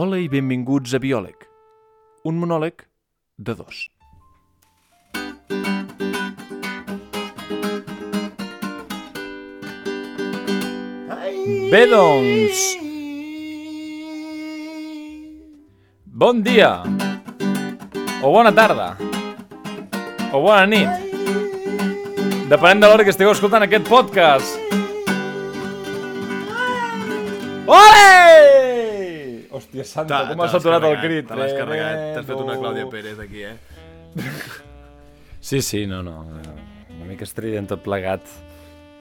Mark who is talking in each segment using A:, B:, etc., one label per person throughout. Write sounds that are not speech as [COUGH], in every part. A: Hola i benvinguts a Biòleg, un monòleg de dos.
B: Bé, doncs, bon dia, o bona tarda, o bona nit. Depenent de l'hora que estigueu escoltant aquest podcast. Ole! Hòstia santa,
C: Ta-
B: com ha
C: te l'has
B: saturat el
C: carregat,
B: crit. eh?
C: Te l'has carregat, t'has fet una
B: Tremendo.
C: Clàudia Pérez aquí, eh?
B: Sí, sí, no, no. eh, Una mica estrident tot plegat.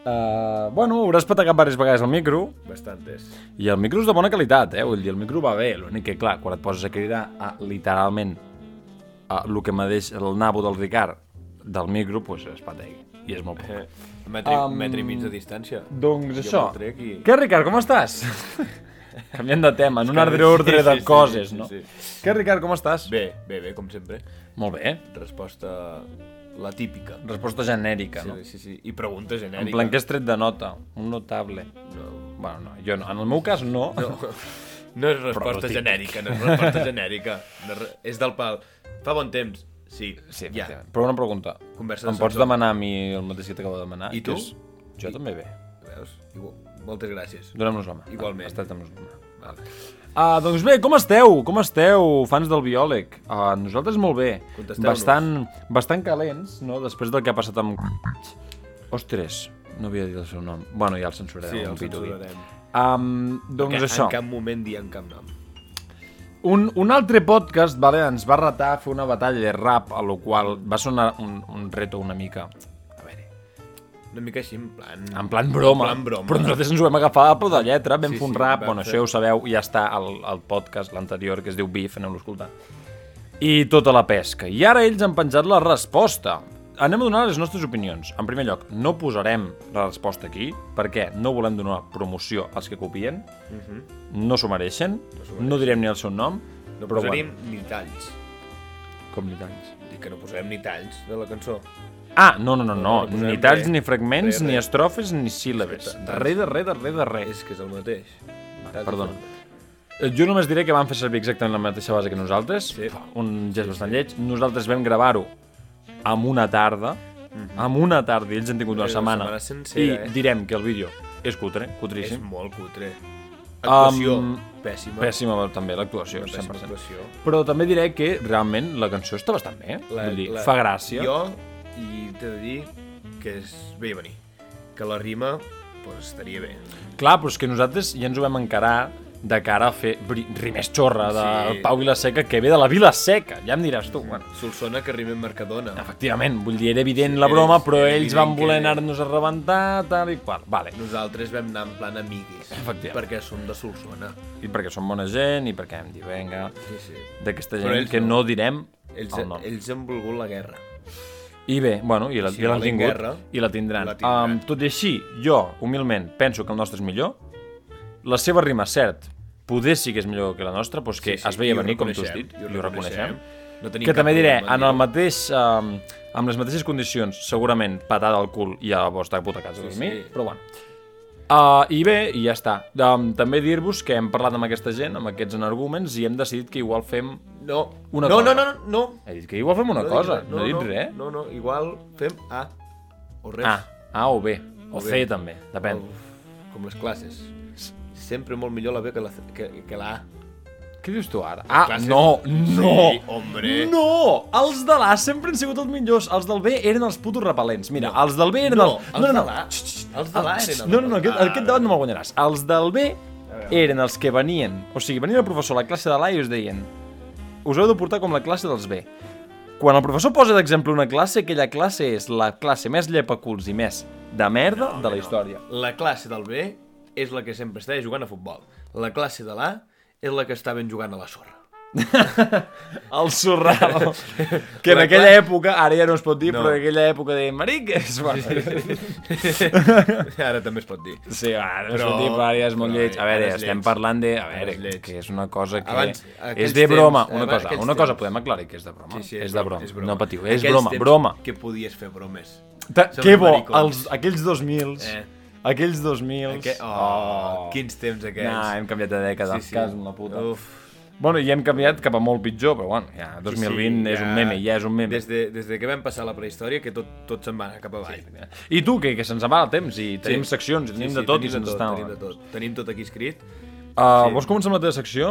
B: Uh, bueno, hauràs patacat diverses vegades el micro,
C: Bastantes.
B: I el micro és de bona qualitat, eh? Vull dir, el micro va bé, l'únic que, clar, quan et poses a cridar a, literalment a el que medeix el nabo del Ricard del micro, doncs es patega. I és molt poc.
C: Eh, metri, um... metri i mig de distància.
B: Doncs
C: Jo
B: això.
C: me'l trec i...
B: Què, Ricard, com estàs?
C: [LAUGHS]
B: Canviant de tema, en un
C: que-
B: ordre ordre
C: sí,
B: de
C: sí, sí,
B: coses,
C: sí,
B: no?
C: sí.
B: Què, Ricard, com estàs?
C: Bé, bé, bé, com sempre.
B: Molt bé.
C: Resposta la típica.
B: Resposta genèrica, no?
C: Sí, sí, sí. I pregunta genèrica.
B: En plan que has tret de nota, un notable.
C: No,
B: Bueno, no, jo no. En el meu cas, no. no.
C: no és resposta
B: típic.
C: genèrica, no és resposta genèrica. No, és re- és del pal. Fa bon temps. Sí,
B: [LAUGHS] Sí,
C: ja.
B: ja. però una pregunta.
C: Conversa de
B: em pots
C: sensor.
B: demanar a mi el mateix que t'acabo de demanar?
C: I
B: que
C: tu?
B: És... Jo també bé.
C: Veus? Igual. Moltes gràcies.
B: Donem-nos la mà.
C: Igualment.
B: Estretem-nos la mà.
C: Vale.
B: Ah, doncs bé, com esteu? Com esteu, fans del biòleg? Ah, nosaltres molt bé.
C: Contesteu-nos.
B: Bastant, bastant calents, no? Després del que ha passat amb... Ostres, no havia dit el seu nom. Bueno, ja el censurarem.
C: Sí,
B: amb
C: el
B: pituï.
C: censurarem.
B: Um, doncs
C: Que
B: això.
C: En cap moment diem cap nom.
B: Un, un altre podcast vale, ens va retar a fer una batalla de rap, a lo qual va ser una, un, un reto una mica. A veure,
C: Una mica així, en plan...
B: En plan broma.
C: En plan broma.
B: Però nosaltres ens ho vam agafar a peu de lletra, vam
C: Sí,
B: sí, fer un
C: sí,
B: rap,
C: vam
B: bueno,
C: fer-
B: això ja ho sabeu, i ja està al, al podcast, l'anterior, que es diu Beef, aneu-lo a escoltar. I tota la pesca. I ara ells han penjat la resposta. Anem a donar les nostres opinions. En primer lloc, no posarem la resposta aquí, perquè no volem donar promoció als que copien,
C: Mhm.
B: no s'ho mereixen, no, direm ni el seu nom,
C: No
B: però
C: posarem ni talls.
B: bueno, com ni talls.
C: Dic que no posarem ni talls de la cançó.
B: Ah, no, no, no, no,
C: no posarem
B: ni talls,
C: res.
B: ni fragments,
C: Res,
B: ni
C: res.
B: estrofes, ni síl·labes.
C: Exacte.
B: Re de re de re de res.
C: És que és el mateix. Talls i
B: Perdona.
C: formes.
B: Eh, Jo només diré que van fer servir exactament la mateixa base que nosaltres,
C: Sí.
B: un gest bastant lleig. Nosaltres vam gravar-ho amb una tarda, amb una tarda, i ells han tingut una
C: Una
B: setmana.
C: Mhm. Eh, setmana sencera,
B: I
C: eh?
B: direm que el vídeo és cutre,
C: És
B: cutríssim.
C: molt cutre. Actuació,
B: Um,
C: pèssima.
B: Pèssima també l'actuació,
C: Una pèssima
B: 100%.
C: actuació.
B: Però també diré que realment la cançó està bastant bé, la, vull dir, la, fa gràcia.
C: Jo, i t'he de dir que és bé venir. Que la rima, doncs estaria bé.
B: Clar, però és que nosaltres ja ens ho vam encarar de cara a fer bri- rimes xorra de
C: Sí.
B: Pau Vilaseca, que ve de la Vila Seca, ja em diràs tu. Bueno,
C: Solsona que rima en Mercadona.
B: Efectivament, vull dir, era evident
C: Sí,
B: la
C: era-
B: broma,
C: era
B: però ells
C: evident
B: van
C: que
B: voler
C: era-
B: anar-nos a rebentar, tal i qual. Vale.
C: Nosaltres vam anar en plan amiguis.
B: Efectivament.
C: Perquè som de Solsona.
B: I perquè som bona gent, i perquè hem dit, vinga,
C: Sí, sí.
B: d'aquesta
C: Però
B: gent
C: ells
B: que
C: no.
B: no direm
C: Ells,
B: el nom.
C: ells han volgut la guerra.
B: I bé, bueno, i la-
C: si
B: i l'han
C: volen
B: tingut,
C: guerra,
B: i la tindran.
C: la tindran.
B: Em, tot i així, jo, humilment, penso que el nostre és millor. La seva rima, cert, poder sí que és millor que la nostra, però és que es veia
C: i ho
B: venir, com tu has
C: reconeixem,
B: dit,
C: i ho
B: i ho reconeixem.
C: No tenim
B: que
C: cap
B: també diré, ah,
C: problema en
B: en el
C: dir-ho.
B: mateix, um, amb les mateixes condicions, segurament patada al cul i a la vostra puta casa a dormir,
C: sí.
B: però bueno. Uh, I bé, i ja està. Um, també dir-vos que hem parlat amb aquesta gent, amb aquests enarguments, i hem decidit que igual fem...
C: No,
B: Una
C: no,
B: cosa.
C: no, no, no, no.
B: He dit que igual fem una
C: No dic
B: cosa,
C: res,
B: no, he dit res. Ah.
C: No, no, igual fem A Ah. o res.
B: A, A o B, o,
C: O
B: C
C: B.
B: també, depèn.
C: Uf, com les classes. Sempre molt millor la B que la, C- que, que la A.
B: Què dius tu ara? Ah,
C: Classes-
B: no, no!
C: Sí, hombre.
B: No! Els de l'A sempre han sigut els millors. Els del B eren els putos repel·lents. Mira, els del B eren
C: No,
B: el...
C: els de l'A- els de l'A eren Ah. els
B: No, no, no, aquest,
C: repel·lents.
B: aquest debat no me'l guanyaràs. Els del B eren els que venien. O sigui, venia el professor a la classe de l'A i us deien us heu de portar com la classe dels B. Quan el professor posa d'exemple una classe, aquella classe és la classe més llepaculs i més de merda de la història.
C: La classe del B és la que sempre està jugant a futbol. La classe de l'A és la que estaven jugant a la sorra. [LAUGHS]
B: El sorral. que en
C: La
B: aquella
C: cla-
B: època, ara ja no es pot dir,
C: No.
B: però en aquella època de Maric és... Bueno,
C: Ara també es pot dir.
B: Sí, va, no
C: Però-
B: però, tipus, ara ja és molt
C: però
B: lleig. A veure,
C: ara és
B: estem
C: lleig.
B: parlant de... A
C: Ara és
B: veure,
C: lleig.
B: que és una cosa que...
C: Abans,
B: és
C: aquells
B: de broma.
C: temps,
B: una
C: abans,
B: cosa,
C: aquells
B: una cosa,
C: temps.
B: podem aclarir que és de broma. és, de broma.
C: és broma.
B: No patiu, és
C: Aquells
B: broma,
C: temps
B: broma.
C: Que podies fer bromes.
B: Ta,
C: Som
B: que bo,
C: maricons.
B: els, aquells 2000,
C: Eh. oh,
B: aquells 2000...
C: Que... Oh, quins temps aquests.
B: Nah, hem canviat de dècada. Sí, sí. Cas, una puta.
C: Uf.
B: Bueno, i hem canviat cap a molt pitjor, però bueno, ja 2020 és un meme, ja és un meme.
C: Des de, des de que vam passar la prehistòria, que tot, tot se'n va anar cap avall. Sí.
B: I tu, que, que se'ns en va el temps, i tenim seccions, i tenim de tot, i
C: tenim
B: se'ns
C: de tot,
B: està...
C: tenim de tot. Tenim tot aquí escrit.
B: Uh, Vols començar amb la teva secció?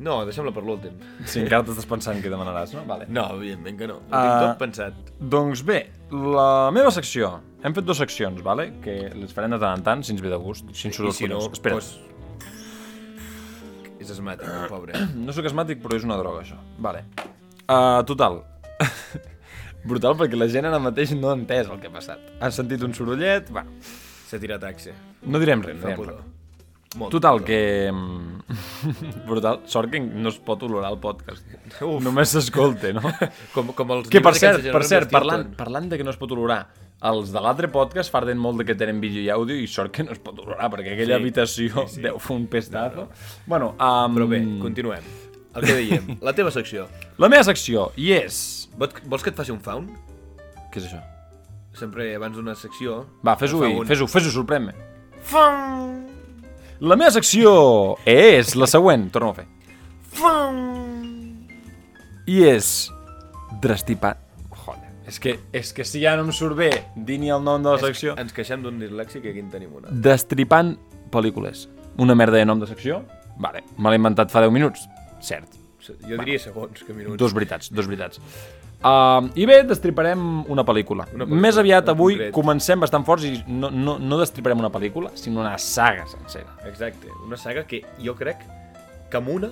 C: No, deixem-la per l'últim.
B: Si encara t'estàs pensant què demanaràs, no? Vale.
C: No, evidentment que no. Ho
B: Ah.
C: tinc tot pensat.
B: Doncs bé, la meva secció. Hem fet dues seccions, vale? que les farem de tant en tant, si ens ve de gust, si ens surt
C: I
B: els
C: si no,
B: collons. Espera,
C: doncs- És esmàtic, el pobre.
B: no sóc asmàtic, però és una droga, això. Vale. Uh, total. [COUGHS] Brutal, perquè la gent ara mateix no ha entès el que ha passat. Ha sentit un sorollet... Va,
C: S'ha tirat taxa.
B: no direm res, no
C: Fa
B: direm res.
C: pudor. Molt
B: Total,
C: pudor.
B: que... mm, [LAUGHS] Brutal. Sort que no es pot olorar el podcast. Uf. Només s'escolte,
C: [LAUGHS]
B: no?
C: Com, com els
B: que, per
C: llibres
B: cert,
C: aquests de
B: per
C: Jerome
B: cert,
C: Stilton.
B: parlant, parlant de que no es pot olorar, els de l'altre podcast farden molt de que tenen vídeo i àudio i sort que no es pot olorar, perquè aquella
C: Sí,
B: habitació sí, sí. deu fer un pestazo. Bueno, um,
C: Però bé, continuem. El que dèiem, la teva secció.
B: la meva secció i és...
C: Vols, vols que et faci un faun?
B: Què és això?
C: Sempre abans d'una secció...
B: Va, fes-ho,
C: Fa
B: i-
C: un-
B: fes-ho, fes-ho, sorprèn-me. La meva secció és la següent, torno a fer. I és... Drastipar... Joder, és que, és que si ja no em surt bé dir ni el nom de la secció...
C: Ens queixem d'un dislèxic i aquí en tenim una.
B: Destripant pel·lícules. Una merda de nom de secció? Vale, me l'he inventat fa 10 minuts. Cert.
C: Se- Jo diria segons, que minuts.
B: Dos veritats, dos veritats. Uh, I bé, destriparem una pel·lícula. Una
C: Una pel·lícula,
B: pel·lícula Més aviat
C: en
B: avui
C: concret.
B: comencem bastant forts i no, no, no destriparem una pel·lícula, sinó una saga sencera.
C: Exacte, una saga que jo crec que amb una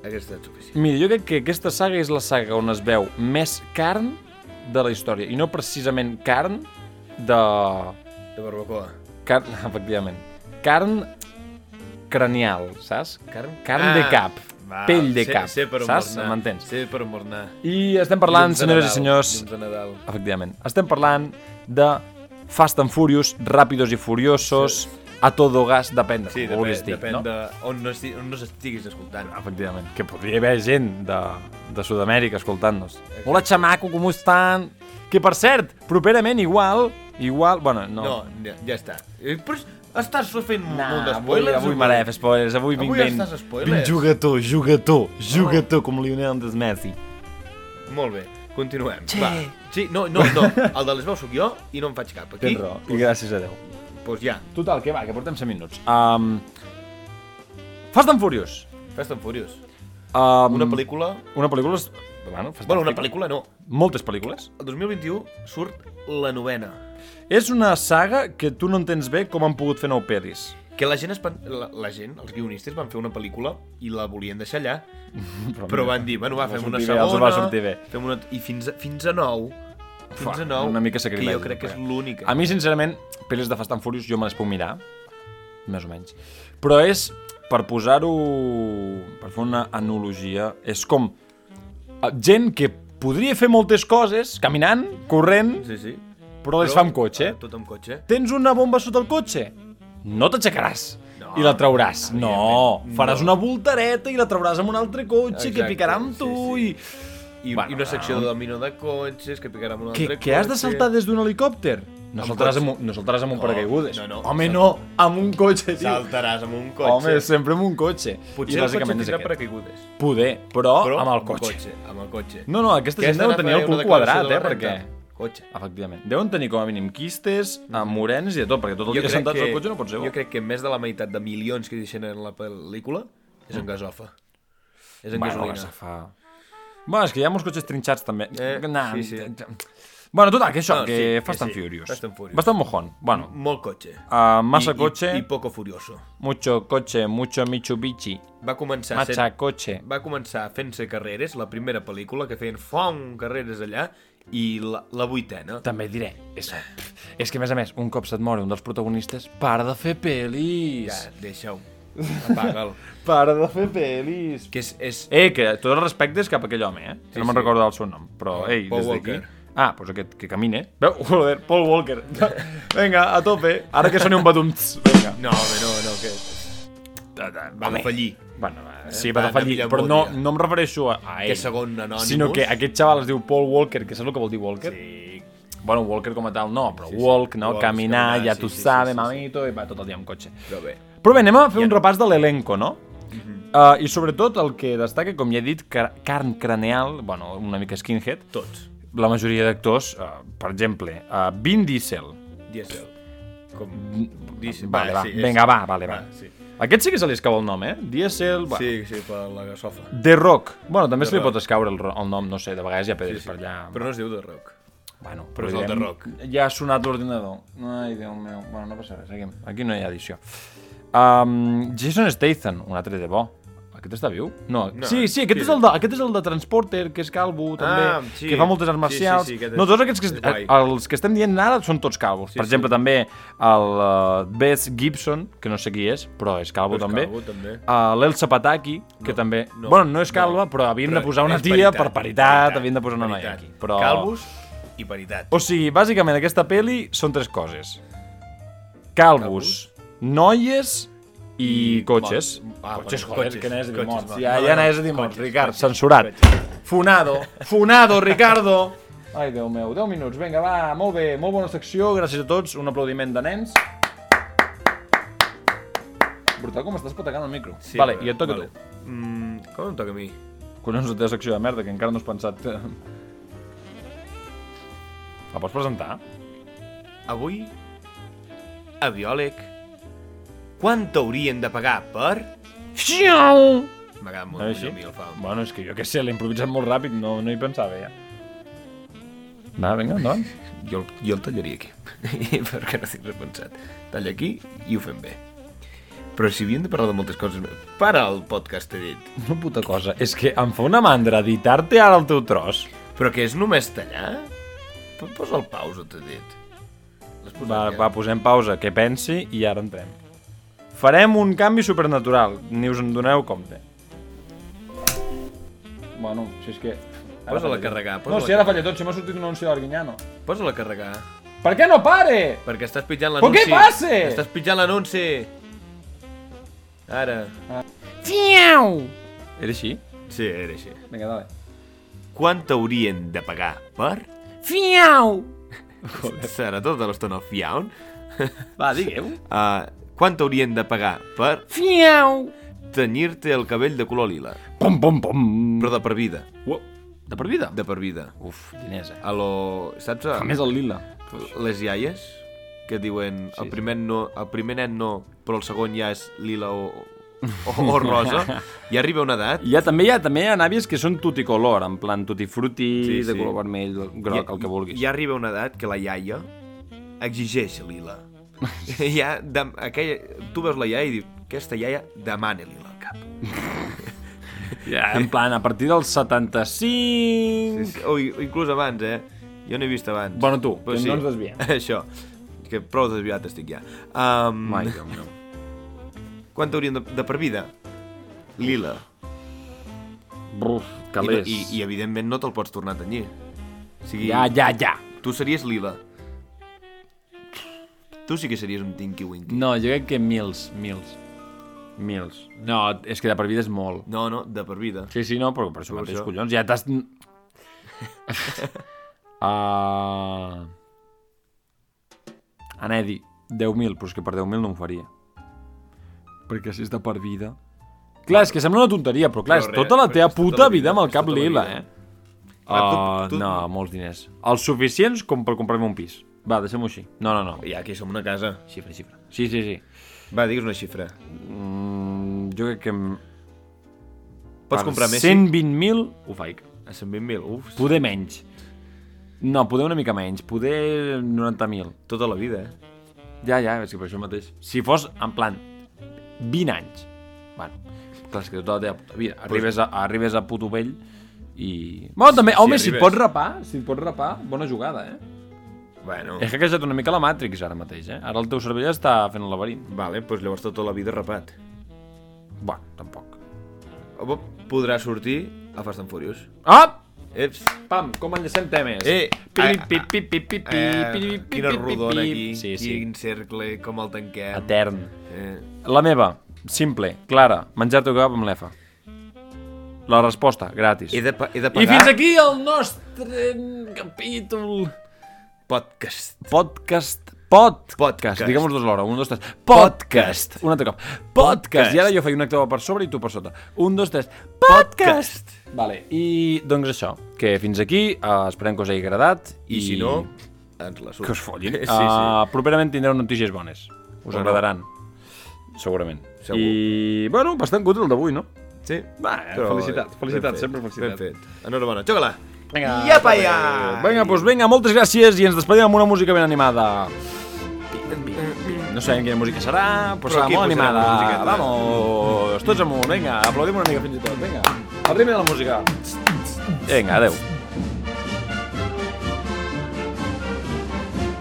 C: hagués estat suficient.
B: Mira, jo crec que aquesta saga és la saga on es veu més carn de la història, i no precisament carn de... Mm.
C: De barbacoa.
B: Carn, [LAUGHS] efectivament. Carn cranial, saps? Carn, carn ah, de
C: Ah,
B: cap,
C: va,
B: pell de
C: sé-
B: cap,
C: sé per on
B: saps?
C: vols anar,
B: M'entens?
C: Sé per on vols anar.
B: I estem parlant,
C: Llums de
B: senyores i
C: Nadal,
B: senyors,
C: Llums de Nadal.
B: efectivament, estem parlant de Fast and Furious, Ràpidos i Furiosos, a todo gas, depèn de
C: Sí,
B: com vulguis
C: depèn,
B: dir,
C: depèn
B: no?
C: de on no, esti, on no s'estiguis escoltant.
B: Efectivament, que podria haver gent de, de Sud-amèrica escoltant-nos. Hola, xamaco, com estan? Que, per cert, properament igual, igual... Bueno, no.
C: No, ja, ja està. Eh, Però és- estàs fent
B: Nah,
C: molt
B: avui,
C: d'espoilers.
B: avui m'agrada fer spoilers, avui,
C: Avui
B: vinc ben,
C: estàs spoilers.
B: ben jugador, jugador, jugador, com Lionel Andres Messi.
C: Molt bé, continuem. Va. Sí, no, no, no. El de les veus sóc jo i no en faig cap. Aquí,
B: Tens raó, i gràcies a Déu.
C: doncs pues ja.
B: Total, que va, que portem 100 minuts. Um, Fast and Furious.
C: Fast and Furious.
B: Um,
C: Una pel·lícula...
B: Una pel·lícula... és- Bueno, Fast and
C: Bueno, una
B: Furious.
C: pel·lícula no.
B: Moltes pel·lícules.
C: El 2021 surt la novena.
B: És una saga que tu no entens bé com han pogut fer nou pelis.
C: Que la gent, es pen... la, la gent, els guionistes, van fer una pel·lícula i la volien deixar allà,
B: Però,
C: però van dir, bueno, va,
B: va
C: fem una
B: sortir bé,
C: segona...
B: els va sortir bé.
C: Fem una... I fins a, fins a nou, fins
B: Fa,
C: a nou,
B: una mica
C: que
B: sacrilegi,
C: jo crec que és
B: però-
C: l'única.
B: A mi, sincerament, pel·lis de Fast and Furious jo me les puc mirar, més o menys. Però és, per posar-ho... per fer una analogia, és com eh, gent que podria fer moltes coses caminant, corrent,
C: Sí, sí.
B: però les fa amb cotxe.
C: Ah, Tot amb cotxe.
B: tens una bomba sota el cotxe? No t'aixecaràs
C: No,
B: i la trauràs. No,
C: evidentment,
B: faràs
C: no.
B: una voltareta i la trauràs amb un altre cotxe
C: Exacte,
B: que picarà amb
C: sí,
B: tu
C: sí. I,
B: Bueno,
C: bueno, I una secció
B: no.
C: de domino de cotxes, que picarà amb un
B: i... Que,
C: altre
B: que has de
C: cotxe.
B: saltar des d'un helicòpter? No
C: Amb
B: saltaràs,
C: cotxe.
B: amb un, no saltaràs amb un
C: No,
B: paracaigudes.
C: no, no.
B: Home, no, amb un cotxe, tio.
C: Saltaràs amb un cotxe.
B: Home, sempre amb un cotxe. I
C: Potser el cotxe
B: bàsicament és
C: tindrà
B: aquest.
C: paracaigudes.
B: Poder, però,
C: Però
B: amb el cotxe.
C: Amb el cotxe.
B: No, no, aquesta gent deu tenir el cul quadrat, eh, perquè...
C: Cotxe.
B: Efectivament. Deuen tenir com a mínim quistes, eh, morenes i de tot, perquè tot el dia sentats al cotxe no pot ser bo.
C: jo crec que més de la meitat de milions que deixen en la pel·lícula és en gasofa. És en
B: Mm. Bueno,
C: gasolina.
B: fa... Bueno, és que hi ha molts cotxes trinxats també.
C: Eh,
B: nah,
C: sí, sí.
B: Bueno, total, que això,
C: No,
B: que
C: sí, que
B: Fast and
C: sí,
B: Furious.
C: Fast and Furious.
B: Bastant mojón. Bueno,
C: Molt cotxe.
B: uh, massa
C: I,
B: cotxe,
C: I, I poco furioso.
B: mucho cotxe, mucho Mitsubishi,
C: Va començar,
B: macha cotxe.
C: va començar fent-se carreres, la primera pel·lícula, que feien fong carreres allà, i la, la vuitena.
B: També et diré, és, és que a més a més, un cop se't mor un dels protagonistes, para de fer
C: Ja,
B: pel·lis.
C: deixa-ho. Apaga'l.
B: Para de fer pel·lis.
C: que és, és
B: Eh, que tots els respectes cap a aquell home, eh? Sí, no me'n
C: sí.
B: recordo el seu nom, però, ei,
C: Paul
B: des d'aquí...
C: Walker.
B: Ah, doncs aquest que camina. Veu? [LAUGHS] Joder, Paul Walker.
C: [LAUGHS]
B: Vinga, a tope. Ara que soni un batumts. Vinga.
C: No, home, no, no, que... Va
B: Home.
C: defallir.
B: Bueno, va, sí,
C: Va
B: va
C: anar
B: defallir,
C: millor
B: però
C: molt
B: no,
C: dia.
B: no em refereixo a, a ell.
C: Que segon anònimus.
B: Sinó que aquest xaval es diu Paul Walker, que saps el que vol dir Walker?
C: Sí.
B: Bueno, Walker com a tal no, però walk, no?
C: Walk,
B: caminar,
C: caminar,
B: ja
C: sí,
B: tu
C: sí, sí,
B: sabe,
C: sí, sí.
B: mamito, i va tot el dia amb cotxe.
C: Però bé.
B: Però bé, anem a fer
C: Ja. Mhm.
B: un repàs de l'elenco, no? Uh, I sobretot el que destaca, com ja he dit, car carn craneal, bueno, una mica skinhead,
C: Tots.
B: la majoria d'actors, uh, per exemple, uh, Vin Diesel.
C: Diesel. Com...
B: Diesel,
C: Diesel.
B: Mm, vale, va,
C: sí, és-
B: vinga, va, vale, va.
C: Va, sí.
B: Aquest sí que se li escau el nom, eh? Diesel, bueno.
C: Sí, sí, per la gasofa.
B: The Rock. Bueno, també
C: The
B: se li
C: Rock.
B: pot escaure el, ro- el nom, no sé, de vegades ja pedres sí, sí. per allà.
C: Però no es diu The Rock.
B: Bueno,
C: Però és el The Rock.
B: Ja ha sonat l'ordinador. Ai, Déu meu. Bueno, no passa res, aquí, aquí no hi ha edició. Um, Jason Statham, un altre de bo. Aquest està viu? No.
C: No,
B: sí, sí, aquest,
C: sí. Ah,
B: és el de, aquest és el de Transporter, que és calvo, també,
C: sí.
B: que fa moltes arts
C: Sí, sí,
B: marcials.
C: sí, aquest
B: no,
C: és-
B: tots aquests que,
C: és guai.
B: els que estem dient ara són tots calvos. per
C: sí.
B: exemple, també el uh, Beth Gibson, que no sé qui és, però és calvo
C: Però és
B: també.
C: calvo, també.
B: Uh, L'Elsa Pataki, que també...
C: no,
B: bueno, no és calva,
C: no.
B: però havien de
C: Però
B: posar una
C: és
B: tia
C: paritat,
B: per paritat,
C: paritat,
B: havien de posar una noia
C: paritat.
B: aquí. Però... Oh,
C: Calvos i paritat.
B: O sigui, bàsicament aquesta peli són tres coses. Calvos, noies i,
C: I
B: cotxes.
C: morts. Ah,
B: cotxes,
C: bueno,
B: joder,
C: cotxes,
B: que n'és de dir
C: cotxes,
B: morts.
C: va.
B: Ja,
C: No,
B: ja
C: no,
B: n'és de dir morts,
C: cotxes,
B: Ricard,
C: cotxes,
B: censurat.
C: cotxes.
B: Funado, funado, Ricardo. Ai, Déu meu, 10 minuts. Vinga, va, molt bé, molt bona secció, gràcies a tots. Un aplaudiment de nens. Brutal com estàs patacant el micro.
C: Sí,
B: vale,
C: però-
B: i et toca
C: vale.
B: tu.
C: Mm, com em toca a mi?
B: Collons, la teva secció de merda, que encara no has pensat... La pots presentar?
C: Avui, a biòleg, quant haurien de pagar per...
B: Xiu!
C: M'agrada molt,
B: No és així?
C: millor a mi el fa.
B: Bueno, és que jo què sé, l'he improvisat molt ràpid, no, no hi pensava ja. Va, vinga, endavant.
C: Jo, el- jo el tallaria aquí, [LAUGHS] perquè no tinc res pensat. Talla aquí i ho fem bé. Però si havíem de parlar de moltes coses... Para el podcast, t'he dit.
B: [LAUGHS] Una puta cosa, és que em fa una mandra editar-te ara el teu tros.
C: Però que és només tallar? P- Posa el pausa, t'he dit. L'has posat eh?
B: Va,
C: ja?
B: va, posem pausa, que pensi i ara entrem. Farem un canvi supernatural, ni us en doneu compte. Bueno, si és que... ara
C: Posa-la
B: falla
C: a
B: tot.
C: carregar,
B: No,
C: posa-la
B: si ara
C: a
B: falla tot, si m'ha sortit un anunci d'Arguinyano.
C: Posa-la a carregar.
B: Per què no pare?
C: Perquè estàs pitjant
B: Però
C: l'anunci.
B: què passa?
C: Estàs pitjant l'anunci. Ara.
B: Tiau! Era així?
C: Sí, era així.
B: Vinga, dale.
C: Quant haurien de pagar per...
B: Fiau!
C: Serà tota l'estona fiaun.
B: Va, digueu.
C: Uh, quant haurien de pagar per
B: Fiau!
C: tenyir-te el cabell de color lila?
B: Pom, pom, pom.
C: Però de per vida.
B: De per vida?
C: De per vida.
B: Uf, diners, eh?
C: A lo... Saps? A...
B: A més el lila.
C: les iaies que diuen el primer, no, el primer nen no, però el segon ja és lila o, o, o
B: [LAUGHS]
C: rosa, i arriba una edat
B: Hi ha, també, hi ha, també hi ha nàvies que són tuticolor, en plan tutifruti, sí,
C: Sí,
B: de
C: sí.
B: color vermell, groc, el que vulguis.
C: Ja arriba una edat que la iaia exigeix lila.
B: [LAUGHS]
C: ja, de, aquella, tu veus la iaia i dius, aquesta iaia demana lila al cap.
B: Ja, en plan, a partir dels 75...
C: Sí,
B: Sí,
C: sí. O, i- o inclús abans, eh? Jo n'he vist abans.
B: Bueno, tu, que no ens desviem.
C: [LAUGHS] Això, que prou desviat estic ja. Um,
B: Mai, Déu meu.
C: Quant haurien de, de per vida? Lila.
B: Bruf, calés.
C: I, i, I evidentment no te'l pots tornar a tenyir. O sigui,
B: Ja, ja, ja.
C: tu series lila. Tu sí que series un Tinky Winky.
B: No, jo crec que mils, mils. Mils. No, és que de per vida és molt.
C: No, no, de per vida.
B: Sí, sí, no, però per això
C: Per
B: mateix,
C: això.
B: collons, ja
C: [LAUGHS]
B: t'has... uh... Anava a dir 10.000, però és que per 10.000 no m'ho faria. Perquè si és de per vida... Clar, és que sembla una tonteria, però clar,
C: Però
B: és
C: res,
B: tota la
C: però
B: teva
C: és tota
B: puta
C: la
B: vida
C: vida,
B: amb el
C: és
B: cap
C: tota la
B: lila,
C: vida.
B: eh?
C: Ah,
B: Uh,
C: tu- tu-
B: no, molts diners. Els suficients com per comprar-me un pis. Va, deixem-ho així. No, no, no.
C: Ja, aquí som una casa. Xifra, xifra.
B: Sí, sí, sí.
C: Va, digues una xifra.
B: Mm, jo crec que... em-
C: Pots
B: per
C: comprar Ah, més?
B: 120.000 ho faig.
C: A 120.000, uf.
B: Poder menys. No, poder una mica menys. Poder 90.000.
C: Tota la vida, eh?
B: Ja, ja, és que per això mateix. Si fos, en plan, 20 anys. Bueno, clar, és que tota la teva puta vida. Arribes a, arribes a puto vell i... Bueno, també,
C: si
B: home, si, et
C: arribes.
B: pots rapar, si et pots rapar, bona jugada, eh?
C: Bueno.
B: He hackejat una mica la Matrix ara mateix, eh? Ara el teu cervell està fent el laberint.
C: Vale, doncs llavors tota la vida rapat.
B: Bueno, tampoc.
C: O podrà sortir a Fast and Furious.
B: Ah!
C: Eps.
B: Pam, com enllacem temes?
C: Eh,
B: Pi,
C: ah,
B: pi,
C: ah,
B: pi, pi, pi, pi, pi,
C: Eh,
B: pi,
C: quina
B: pi, pi,
C: rodona
B: pi.
C: aquí,
B: Sí, sí.
C: quin cercle, com el tanquem.
B: Etern.
C: Eh,
B: La meva, simple, clara, menjar-te el kebab amb l'EFA. La resposta, gratis.
C: he, de, pa- he de
B: I
C: pagar
B: fins aquí el nostre capítol
C: podcast.
B: podcast Podcast.
C: Podcast.
B: Diguem els dos alhora. Un, dos, tres. Podcast. Un altre cop. Podcast. I ara jo faig una activa per sobre i tu per sota. Un, dos, tres. Podcast. Vale, i doncs això, que fins aquí, eh, esperem que us hagi agradat.
C: I, I si no, ens la surt.
B: Que us follin.
C: [LAUGHS] Eh, Sí, sí.
B: Uh, properament tindreu notícies bones. Us
C: no.
B: agradaran. Segurament.
C: Segur.
B: I, bueno, bastant gut el d'avui, no?
C: Sí.
B: Va, felicitats, felicitats, sempre felicitats.
C: Ben fet. Enhorabona. Xoca-la.
B: Vinga,
C: Iapa, ja!
B: vinga, doncs vinga, moltes gràcies i ens despedim amb una música ben animada. No sabem quina música serà, però,
C: Però
B: serà
C: aquí
B: molt
C: posarem
B: animada.
C: musiqueta.
B: Vamos, tots amunt, vinga, aplaudim una mica fins i tot, vinga. El ritme de la música. Vinga, adeu.